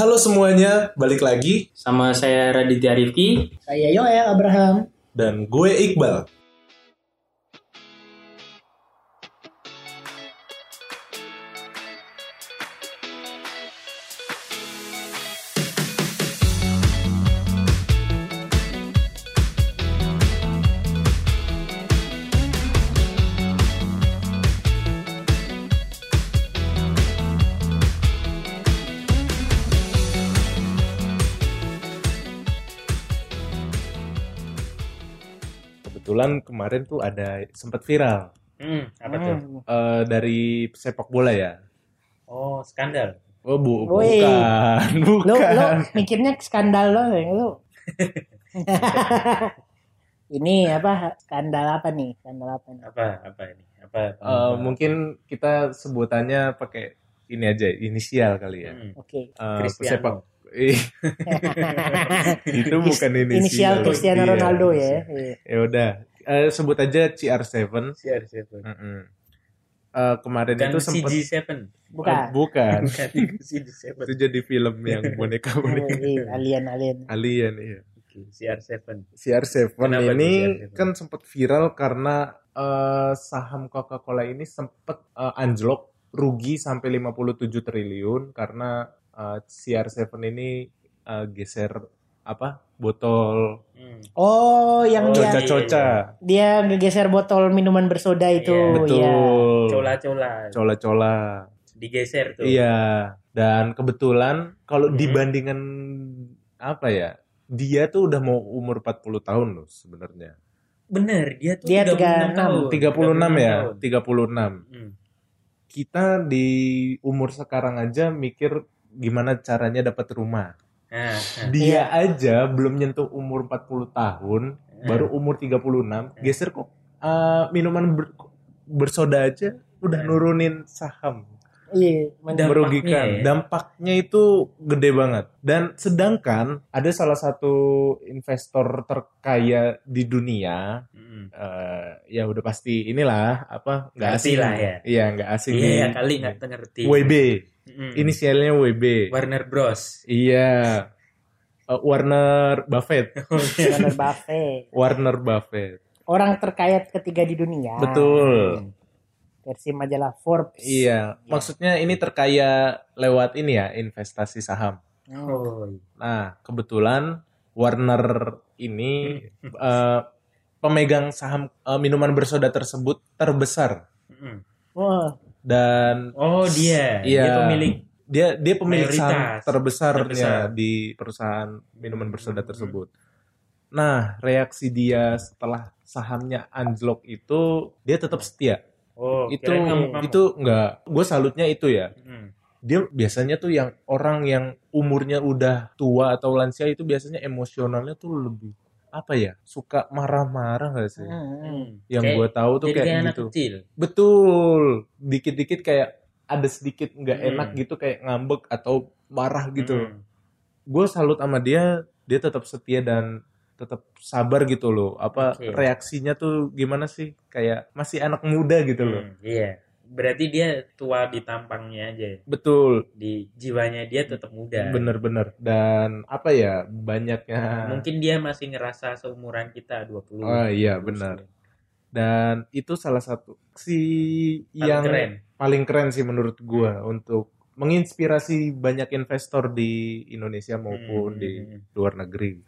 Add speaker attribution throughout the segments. Speaker 1: Halo semuanya, balik lagi
Speaker 2: Sama saya Raditya Rifki.
Speaker 3: Saya Yoel Abraham.
Speaker 1: dan gue Iqbal. Kebetulan kemarin tuh ada sempat viral
Speaker 2: Hmm, apa
Speaker 3: Hmm.
Speaker 1: eh, dari sepak bola ya.
Speaker 2: Oh, skandal.
Speaker 1: Oh, bu,
Speaker 3: Woi.
Speaker 1: bukan,
Speaker 3: Lu, lu
Speaker 1: bukan.
Speaker 3: mikirnya skandal lo, lu. Ini apa skandal apa nih? Skandal apa nih?
Speaker 2: Apa apa ini? Apa?
Speaker 1: Eh, mungkin kita sebutannya pakai ini aja, inisial kali ya.
Speaker 2: Hmm.
Speaker 3: Oke.
Speaker 1: Eh,
Speaker 2: Cristiano.
Speaker 1: pesepak Ih, itu bukan inisial.
Speaker 3: Inisial Cristiano
Speaker 1: Iya.
Speaker 3: Ronaldo ya. Iya.
Speaker 1: Ya udah, Eh, sebut aja CR7.
Speaker 2: Siar siapa?
Speaker 1: Mm-mm. Eh, kemarin
Speaker 2: Bukan
Speaker 1: itu sempat
Speaker 2: CG7.
Speaker 3: Bukan.
Speaker 1: bukan.
Speaker 2: Bukan itu CG7.
Speaker 1: itu jadi film yang boneka-boneka
Speaker 3: Iya, alien alien.
Speaker 1: alien iya.
Speaker 2: Oke, CR7.
Speaker 1: CR7
Speaker 2: Kenapa
Speaker 1: ini
Speaker 2: tuh CR7?
Speaker 1: kan sempat viral karena eh, saham Coca-Cola ini sempat eh, anjlok rugi sampai 57 triliun karena eh, CR7 ini eh, geser apa botol
Speaker 2: Hmm.
Speaker 3: Oh,
Speaker 2: Oh,
Speaker 3: yang dia
Speaker 2: cocok.
Speaker 1: coca-coca
Speaker 3: dia ngegeser botol minuman bersoda itu.
Speaker 2: Iya,
Speaker 3: Iya.
Speaker 1: betul
Speaker 2: Cola-cola
Speaker 1: cola-cola
Speaker 2: digeser tuh.
Speaker 1: Iya, dan kebetulan kalau
Speaker 2: Mhm.
Speaker 1: dibandingkan apa ya? Dia tuh udah mau umur 40 tahun loh sebenarnya.
Speaker 2: Bener, dia tuh
Speaker 3: Dia
Speaker 2: 36 tahun.
Speaker 1: 36 ya, 36.
Speaker 2: Hmm.
Speaker 1: Kita di umur sekarang aja mikir gimana caranya dapat rumah.
Speaker 2: Nah, nah.
Speaker 1: Dia aja belum nyentuh umur 40 tahun,
Speaker 2: Iya.
Speaker 1: baru umur 36, geser kok eh, minuman ber- bersoda aja udah
Speaker 2: Eh.
Speaker 1: nurunin saham.
Speaker 3: Iya, men-
Speaker 2: Dampaknya
Speaker 1: merugikan.
Speaker 2: ya.
Speaker 1: Dampaknya itu gede banget. Dan sedangkan ada salah satu investor terkaya di dunia,
Speaker 2: Hmm.
Speaker 1: eh, ya udah pasti inilah apa nggak
Speaker 2: Ngerti
Speaker 1: asing
Speaker 2: lah ya.
Speaker 1: Iya nggak asing.
Speaker 2: Iya,
Speaker 1: nih.
Speaker 2: kali nggak ngerti.
Speaker 1: WB,
Speaker 2: Hmm.
Speaker 1: inisialnya WB.
Speaker 2: Warner Bros.
Speaker 1: Iya. Eh, Warner Buffett,
Speaker 2: Oh,
Speaker 3: Warner Buffett.
Speaker 1: Warner Buffett,
Speaker 3: Orang terkaya ketiga di dunia.
Speaker 1: betul.
Speaker 3: Versi majalah Forbes.
Speaker 1: Iya, maksudnya ini terkaya lewat ini ya investasi saham.
Speaker 3: Hmm.
Speaker 2: Oh,
Speaker 1: Nah, kebetulan Warner ini eh, pemegang saham eh, minuman bersoda tersebut terbesar
Speaker 2: Hmm.
Speaker 3: Wah,
Speaker 1: dan
Speaker 2: Oh, dia. Dia
Speaker 1: Iya.
Speaker 2: pemilik
Speaker 1: dia dia pemilik saham
Speaker 2: Mayoritas.
Speaker 1: terbesarnya
Speaker 2: Terbesar. Hmm.
Speaker 1: di perusahaan minuman bersoda tersebut. Nah, reaksi dia setelah sahamnya anjlok itu dia tetap setia.
Speaker 2: Oh,
Speaker 1: itu
Speaker 2: kirain kamu-kamu.
Speaker 1: itu enggak gue salutnya itu ya.
Speaker 2: Hmm.
Speaker 1: Dia biasanya tuh yang orang yang umurnya udah tua atau lansia itu biasanya emosionalnya tuh lebih apa ya? Suka marah-marah gak sih?
Speaker 3: Hmm.
Speaker 1: yang
Speaker 2: Kayak-
Speaker 1: gue tahu tuh
Speaker 2: jadi
Speaker 1: kayak,
Speaker 2: kayak anak
Speaker 1: gitu
Speaker 2: kecil.
Speaker 1: betul dikit-dikit kayak ada sedikit nggak
Speaker 2: Hmm.
Speaker 1: enak gitu kayak ngambek atau marah gitu
Speaker 2: Hmm.
Speaker 1: gue salut sama dia dia tetap setia dan tetap sabar gitu loh apa
Speaker 2: Oke.
Speaker 1: reaksinya tuh gimana sih kayak masih anak muda gitu loh
Speaker 2: Hmm, Iya. Berarti dia tua di tampangnya aja, ya?
Speaker 1: betul
Speaker 2: di jiwanya dia tetap muda.
Speaker 1: bener-bener dan apa ya banyaknya
Speaker 2: Mungkin dia masih ngerasa seumuran kita 20.
Speaker 1: Oh, iya, benar. dan itu salah satu si
Speaker 2: Yang
Speaker 1: yang
Speaker 2: keren.
Speaker 1: paling keren sih menurut gua untuk menginspirasi banyak investor di Indonesia maupun
Speaker 2: Hmm.
Speaker 1: di luar negeri.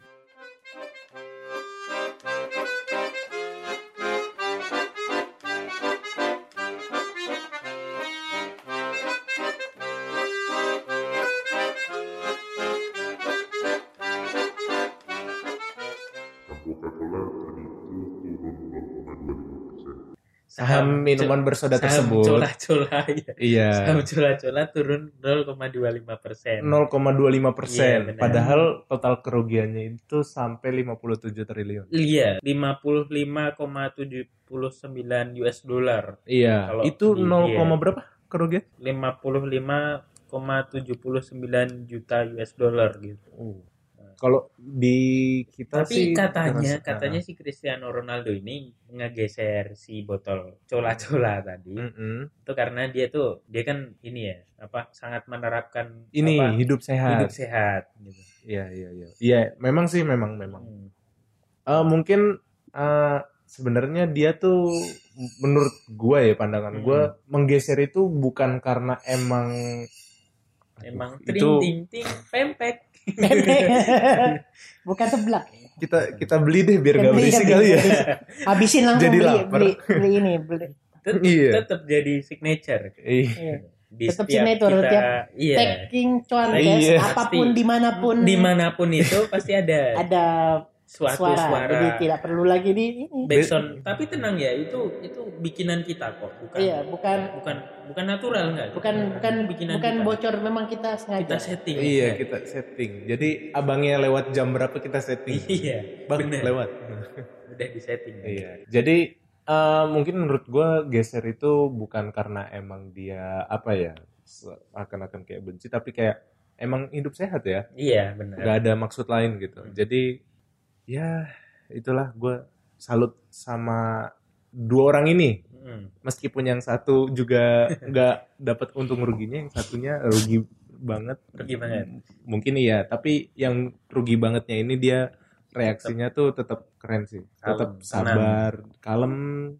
Speaker 1: Saham minuman bersoda
Speaker 2: saham
Speaker 1: tersebut.
Speaker 2: Cola-cola ya.
Speaker 1: Iya.
Speaker 2: Saham cola-cola turun 0,25 persen.
Speaker 1: 0,25
Speaker 2: Iya,
Speaker 1: persen.
Speaker 2: benar.
Speaker 1: Padahal total kerugiannya itu sampai 57 triliun.
Speaker 2: Iya, 55,79 US dollar.
Speaker 1: Iya.
Speaker 2: Kalau
Speaker 1: itu
Speaker 2: di-
Speaker 1: 0,
Speaker 2: iya.
Speaker 1: berapa kerugian? Uh.
Speaker 2: 55,79 juta US dollar gitu.
Speaker 1: Kalau di kita sih
Speaker 2: Tapi katanya
Speaker 1: terasa-
Speaker 2: katanya si Cristiano Ronaldo ini ngegeser si botol cola-cola tadi.
Speaker 1: Mm-mm.
Speaker 2: Itu karena dia tuh dia kan ini ya, apa sangat menerapkan
Speaker 1: ini
Speaker 2: apa,
Speaker 1: hidup sehat.
Speaker 2: hidup sehat gitu.
Speaker 1: Iya iya iya. Iya, memang sih memang memang.
Speaker 2: Hmm.
Speaker 1: Eh, mungkin eh, sebenarnya dia tuh menurut gua ya pandangan gua menggeser itu bukan karena emang Aduh,
Speaker 2: Emang
Speaker 1: itu
Speaker 2: ting ting ting pempek.
Speaker 3: Bukan seblak.
Speaker 1: kita kita beli deh biar gak
Speaker 3: Iya,
Speaker 1: berisik
Speaker 3: beli,
Speaker 1: kali ya.
Speaker 3: beli. Habisin langsung
Speaker 1: Jadi
Speaker 3: beli,
Speaker 1: lapar.
Speaker 3: beli, beli ini, beli.
Speaker 2: Tet-
Speaker 1: Iya.
Speaker 2: Tetap jadi signature.
Speaker 1: Iya.
Speaker 3: Iya.
Speaker 2: Di
Speaker 3: Tetap
Speaker 2: setiap
Speaker 3: signature,
Speaker 2: kita,
Speaker 3: tiap
Speaker 2: iya.
Speaker 3: Taking contest,
Speaker 1: Iya.
Speaker 3: apapun
Speaker 2: Pasti.
Speaker 3: dimanapun
Speaker 2: Dimanapun itu pasti ada
Speaker 3: ada
Speaker 2: suatu
Speaker 3: suara,
Speaker 2: suara.
Speaker 3: jadi tidak perlu lagi di ini.
Speaker 2: Backsound. Tapi tenang ya, itu itu bikinan kita kok, bukan
Speaker 3: Iya, bukan
Speaker 2: bukan bukan natural nggak?
Speaker 3: bukan bukan
Speaker 2: bikinan
Speaker 3: bukan
Speaker 2: kita.
Speaker 3: bocor memang kita sengaja.
Speaker 2: kita setting.
Speaker 1: Iya, kita setting. Jadi abangnya lewat jam berapa kita setting?
Speaker 2: Iya,
Speaker 1: Bang
Speaker 2: bener.
Speaker 1: lewat.
Speaker 2: udah di setting.
Speaker 1: Iya. Jadi eh, mungkin menurut gua geser itu bukan karena emang dia apa ya akan-akan kayak benci, tapi kayak emang hidup sehat ya,
Speaker 2: Iya, Hmm. benar.
Speaker 1: nggak ada maksud lain gitu. Jadi ya itulah gua salut sama dua orang ini.
Speaker 2: Mm.
Speaker 1: Meskipun yang satu juga nggak dapat untung ruginya, yang satunya rugi banget.
Speaker 2: Rugi banget.
Speaker 1: M- Mungkin iya, tapi yang rugi bangetnya ini dia reaksinya tuh tetap keren sih. Tetap
Speaker 2: Kalem,
Speaker 1: sabar, kalem,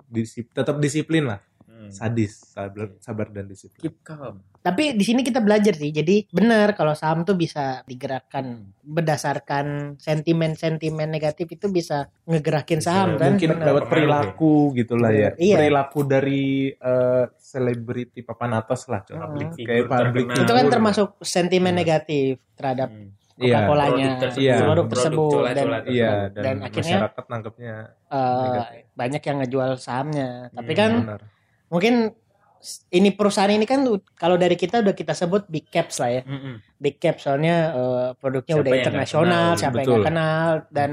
Speaker 1: disip, tetap disiplin lah.
Speaker 2: Mm.
Speaker 1: Sadis, sabar, sabar dan disiplin.
Speaker 2: Keep calm.
Speaker 3: Tapi di sini kita belajar sih. Jadi benar kalau saham tuh bisa digerakkan berdasarkan sentimen-sentimen negatif itu bisa ngegerakin saham kan.
Speaker 1: Mungkin
Speaker 3: Benar.
Speaker 1: lewat perilaku gitu lah ya.
Speaker 3: Iya.
Speaker 1: Perilaku dari eh, selebriti papan atas lah,
Speaker 3: Hmm.
Speaker 1: publik,
Speaker 2: Figur
Speaker 1: kayak publik
Speaker 2: terkenal.
Speaker 3: itu kan
Speaker 1: figure.
Speaker 3: termasuk sentimen
Speaker 1: Hmm.
Speaker 3: negatif terhadap
Speaker 2: Mm.
Speaker 1: Iya,
Speaker 3: Coca-Colanya,
Speaker 2: Produk tersebut.
Speaker 1: Iya.
Speaker 3: produk
Speaker 2: Produk
Speaker 3: tersebut dan
Speaker 2: cola-cola tersebut.
Speaker 1: iya
Speaker 3: dan
Speaker 1: dan,
Speaker 3: akhirnya,
Speaker 1: masyarakat nangkepnya
Speaker 3: eh,
Speaker 1: negatif.
Speaker 3: banyak yang ngejual sahamnya. Tapi
Speaker 2: Hmm.
Speaker 3: kan
Speaker 1: Benar.
Speaker 3: mungkin s- ini perusahaan ini kan u- kalau dari kita udah kita sebut big caps lah ya.
Speaker 2: Mm-mm.
Speaker 3: Big caps soalnya eh, produknya
Speaker 2: Siapa
Speaker 3: udah
Speaker 2: yang nggak
Speaker 3: internasional,
Speaker 2: kenal, Hmm.
Speaker 3: siapa yang
Speaker 1: betul.
Speaker 3: gak kenal dan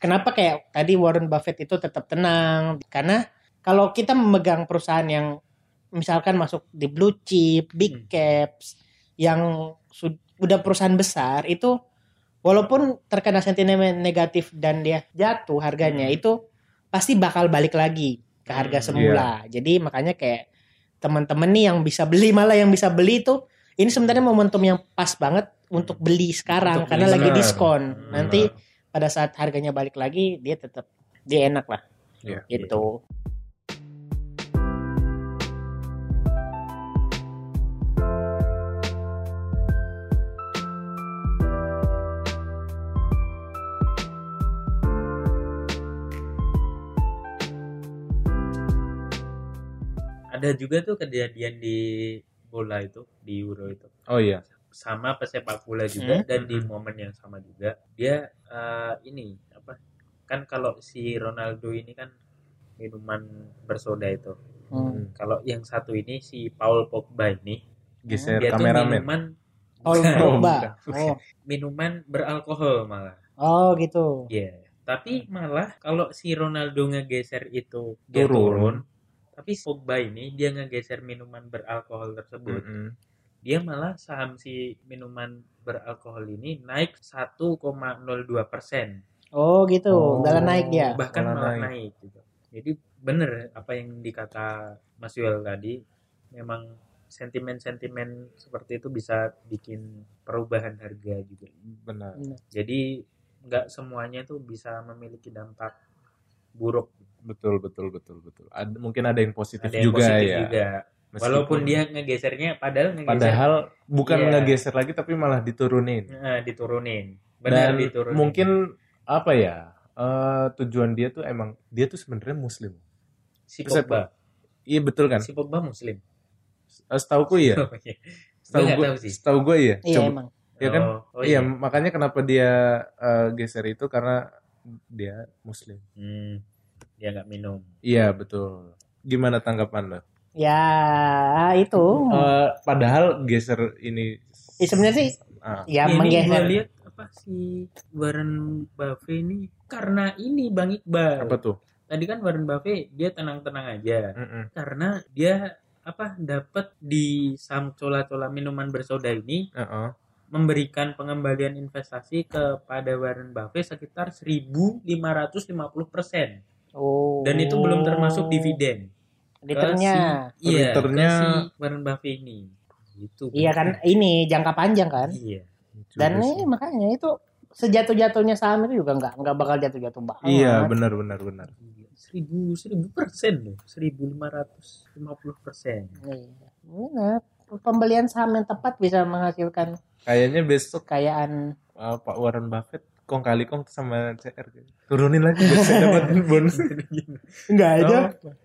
Speaker 3: kenapa kayak tadi Warren Buffett itu tetap tenang karena kalau kita memegang perusahaan yang misalkan masuk di blue chip,
Speaker 2: Hmm.
Speaker 3: big caps yang su- udah perusahaan besar itu walaupun terkena sentimen negatif dan dia jatuh harganya
Speaker 2: Hmm.
Speaker 3: itu pasti bakal balik lagi ke harga
Speaker 2: Hmm.
Speaker 3: semula. Jadi makanya kayak teman-teman nih yang bisa beli malah yang bisa beli itu ini sebenarnya momentum yang pas banget untuk beli sekarang
Speaker 2: Untuk
Speaker 3: karena
Speaker 2: beli
Speaker 3: lagi
Speaker 1: sekarang.
Speaker 3: diskon.
Speaker 2: Hmm.
Speaker 3: Nanti pada saat harganya balik lagi dia tetap dia enak lah
Speaker 1: Iya.
Speaker 3: gitu
Speaker 2: ada juga tuh kejadian di bola itu di Euro itu
Speaker 1: Oh iya.
Speaker 2: sama pesepak bola juga
Speaker 3: Hmm.
Speaker 2: dan di momen yang sama juga dia eh, ini apa kan kalau si Ronaldo ini kan minuman bersoda itu
Speaker 3: Hmm.
Speaker 2: kalau yang satu ini si Paul Pogba ini
Speaker 1: Geser
Speaker 2: dia tuh
Speaker 1: kameramen.
Speaker 2: minuman
Speaker 3: Paul
Speaker 2: Bukan.
Speaker 3: Pogba
Speaker 1: bukan.
Speaker 3: oh
Speaker 2: minuman beralkohol malah
Speaker 3: oh gitu
Speaker 2: Iya. Tapi malah kalau si Ronaldo ngegeser itu dia
Speaker 1: Turun.
Speaker 2: turun. Tapi si Pogba ini dia ngegeser minuman beralkohol
Speaker 3: Hmm.
Speaker 2: tersebut.
Speaker 1: Mm-mm.
Speaker 2: Dia malah saham si minuman beralkohol ini naik 1,02 persen.
Speaker 3: oh gitu
Speaker 1: Oh.
Speaker 3: Bela naik ya? dia
Speaker 2: Bahkan
Speaker 1: malah
Speaker 2: malah
Speaker 1: naik.
Speaker 2: naik. gitu. Jadi bener apa yang dikata Mas Yuel tadi. Memang sentimen-sentimen seperti itu bisa bikin perubahan harga juga.
Speaker 1: Benar.
Speaker 2: Jadi nggak semuanya tuh bisa memiliki dampak buruk.
Speaker 1: Betul betul betul betul. Ada, mungkin ada yang positif
Speaker 2: Ada yang
Speaker 1: juga
Speaker 2: positif
Speaker 1: ya.
Speaker 2: juga.
Speaker 1: Meskipun-
Speaker 2: Walaupun dia ngegesernya, padahal ngegeser
Speaker 1: padahal bukan
Speaker 2: Iya.
Speaker 1: ngegeser lagi tapi malah diturunin.
Speaker 2: eh, diturunin. Benar
Speaker 1: Dan
Speaker 2: diturunin.
Speaker 1: mungkin apa ya? eh, tujuan dia tuh emang dia tuh sebenarnya muslim.
Speaker 2: si
Speaker 1: Terus
Speaker 2: Pogba,
Speaker 1: Iya betul kan?
Speaker 2: si Pogba Muslim.
Speaker 1: Setauku iya.
Speaker 2: Gue
Speaker 1: Setahu
Speaker 2: nggak
Speaker 1: gue,
Speaker 2: tahu sih.
Speaker 1: setahu gue iya.
Speaker 3: iya
Speaker 1: Coba-
Speaker 3: emang
Speaker 1: Iya kan?
Speaker 2: Oh, oh
Speaker 1: iya, makanya kenapa dia eh, geser itu karena dia muslim.
Speaker 2: Hmm, dia nggak minum.
Speaker 1: Iya betul. Gimana tanggapan lo?
Speaker 3: ya itu
Speaker 1: Eh, padahal geser ini
Speaker 3: Ya, Hmm. sebenarnya sih
Speaker 1: Ah,
Speaker 2: Ini
Speaker 3: ya
Speaker 2: gua
Speaker 3: menggeser
Speaker 2: lihat apa si Warren Buffett ini karena ini Bang
Speaker 1: apa
Speaker 2: Iqbal.
Speaker 1: tuh?
Speaker 2: Tadi kan Warren Buffett dia tenang-tenang aja.
Speaker 1: Mm-mm.
Speaker 2: karena dia apa dapat di saham cola-cola minuman bersoda ini
Speaker 1: Uh-uh.
Speaker 2: memberikan pengembalian investasi kepada Warren Buffett sekitar 1.550 persen
Speaker 3: Oh.
Speaker 2: dan itu belum termasuk dividen.
Speaker 3: Returnnya.
Speaker 2: Ke si- iya,
Speaker 1: Returnnya-
Speaker 2: ke si Warren Buffett ini. Gitu.
Speaker 3: Iya kan ini jangka panjang kan.
Speaker 2: Iya.
Speaker 3: Dan
Speaker 1: Juga
Speaker 3: ini
Speaker 1: sih.
Speaker 3: makanya itu sejatuh-jatuhnya saham itu juga nggak nggak bakal jatuh-jatuh banget.
Speaker 1: iya benar benar benar
Speaker 2: Iya, seribu seribu persen loh seribu lima ratus lima puluh persen
Speaker 3: Iya. Benar. Pembelian saham yang tepat bisa menghasilkan
Speaker 1: kayaknya besok
Speaker 3: kekayaan.
Speaker 1: uh, Pak Warren Buffett kong kali kong sama CR gitu. turunin lagi biar saya dapatin bonus
Speaker 3: Enggak
Speaker 1: ada.
Speaker 3: Oh.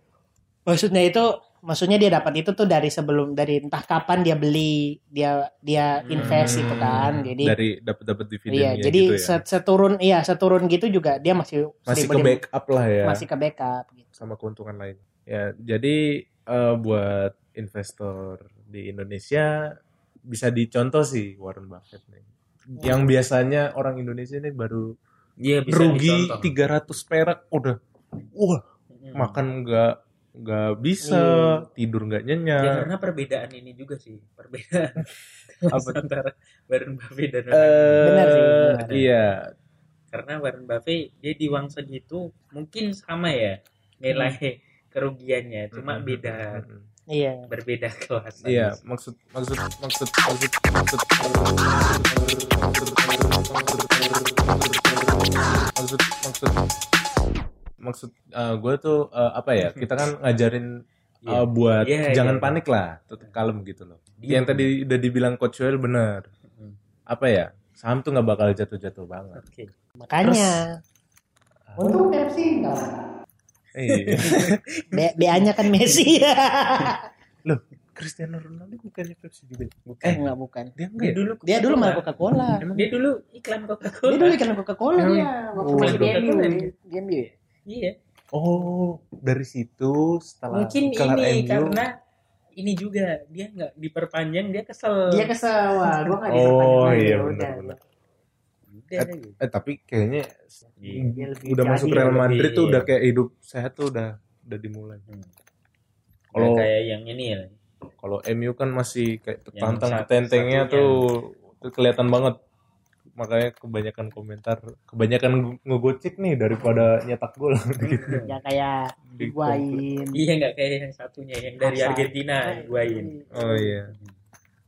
Speaker 3: Maksudnya itu maksudnya dia dapat itu tuh dari sebelum dari entah kapan dia beli, dia dia invest itu kan. Jadi
Speaker 1: Hmm. dari dapat dapat dividennya
Speaker 3: iya, jadi
Speaker 1: gitu ya
Speaker 3: set- seturun iya seturun gitu juga dia masih
Speaker 1: masih ke
Speaker 3: beli-
Speaker 1: backup lah ya
Speaker 3: masih ke backup gitu.
Speaker 1: sama keuntungan lain ya jadi eh, buat investor di Indonesia bisa dicontoh sih Warren Buffett nih yang biasanya orang Indonesia ini baru
Speaker 2: Iya bisa
Speaker 1: rugi
Speaker 2: dicontoh.
Speaker 1: 300 perak udah wah
Speaker 2: Mm-mm.
Speaker 1: makan nggak nggak bisa
Speaker 3: Iya.
Speaker 1: tidur nggak
Speaker 2: Ya,
Speaker 1: nyenyak
Speaker 2: karena perbedaan ini juga sih perbedaan
Speaker 1: Apa?
Speaker 2: antara Warren Buffett dan orang lain.
Speaker 1: eh
Speaker 3: Benar sih, benar.
Speaker 1: iya
Speaker 2: karena Warren Buffett dia di uang segitu mungkin sama ya nilai kerugiannya
Speaker 1: Mm-mm.
Speaker 2: cuma beda
Speaker 1: Mm-mm.
Speaker 3: Iya.
Speaker 2: berbeda kelas aja
Speaker 1: iya
Speaker 2: sih.
Speaker 1: maksud maksud maksud maksud maksud maksud maksud maksud gue tuh eh, apa ya kita kan ngajarin eh,
Speaker 2: Iya.
Speaker 1: buat
Speaker 2: Iya,
Speaker 1: jangan
Speaker 2: iya.
Speaker 1: panik lah tetap kalem gitu loh
Speaker 2: Diem.
Speaker 1: yang tadi udah dibilang coach Joel bener
Speaker 2: Mm-mm.
Speaker 1: apa ya saham tuh nggak bakal jatuh-jatuh banget
Speaker 2: oke
Speaker 3: Makanya. Untung Pepsi enggak.
Speaker 1: iya
Speaker 3: BA-nya kan Messi.
Speaker 1: Cristiano Ronaldo bukannya Pepsi juga
Speaker 2: bukan
Speaker 3: Eh, enggak bukan.
Speaker 1: dia
Speaker 2: dia
Speaker 1: enggak ya?
Speaker 2: dulu
Speaker 3: Dia dulu malah
Speaker 2: Coca-Cola.
Speaker 3: Coca-Cola.
Speaker 1: Emang
Speaker 2: dia dulu iklan
Speaker 3: Dia dulu
Speaker 2: Coca-Cola
Speaker 3: ikan Coca-Cola
Speaker 1: Emang?
Speaker 3: ya. Waktu
Speaker 1: Oh,
Speaker 3: masih
Speaker 1: aduh.
Speaker 3: DMU.
Speaker 2: Coca-Cola.
Speaker 3: DMU ya?
Speaker 2: iya
Speaker 1: oh dari situ setelah
Speaker 2: mungkin
Speaker 1: kelar
Speaker 2: ini
Speaker 1: MU,
Speaker 2: karena ini juga dia nggak diperpanjang dia kesel
Speaker 3: Dia kesel. Wah, gua nggak
Speaker 1: Oh,
Speaker 3: diperpanjang lagi,
Speaker 1: iya,
Speaker 3: udah.
Speaker 1: benar-benar.
Speaker 2: Udah, gitu.
Speaker 1: eh tapi kayaknya Iya,
Speaker 3: Dia lebih
Speaker 1: udah
Speaker 3: jadi,
Speaker 1: masuk Real
Speaker 2: lebih-
Speaker 1: Madrid tuh udah kayak hidup sehat tuh udah udah dimulai
Speaker 2: Hmm.
Speaker 1: kalau
Speaker 2: Udah kayak yang ini ya
Speaker 1: kalau MU kan masih kayak
Speaker 2: Yang
Speaker 1: tertantang
Speaker 2: satu-
Speaker 1: tentengnya
Speaker 2: satunya.
Speaker 1: tuh tuh kelihatan banget makanya kebanyakan komentar kebanyakan ngegocek nih daripada nyetak gol gitu
Speaker 3: Ya kayak Higuain.
Speaker 2: iya nggak kayak yang satunya yang dari
Speaker 3: Hazard.
Speaker 2: Argentina Higuain
Speaker 1: oh iya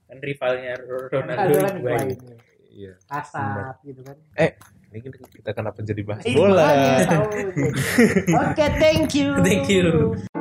Speaker 2: kan rivalnya Ronaldo
Speaker 3: Ronaldo kan
Speaker 2: Higuain
Speaker 3: Higuain.
Speaker 1: iya
Speaker 3: Asap gitu kan.
Speaker 1: ini kita,
Speaker 2: Iya,
Speaker 1: kita kenapa jadi bahas
Speaker 3: Ih,
Speaker 1: bola
Speaker 3: makanya tahu. Oke, thank you.
Speaker 2: Thank you.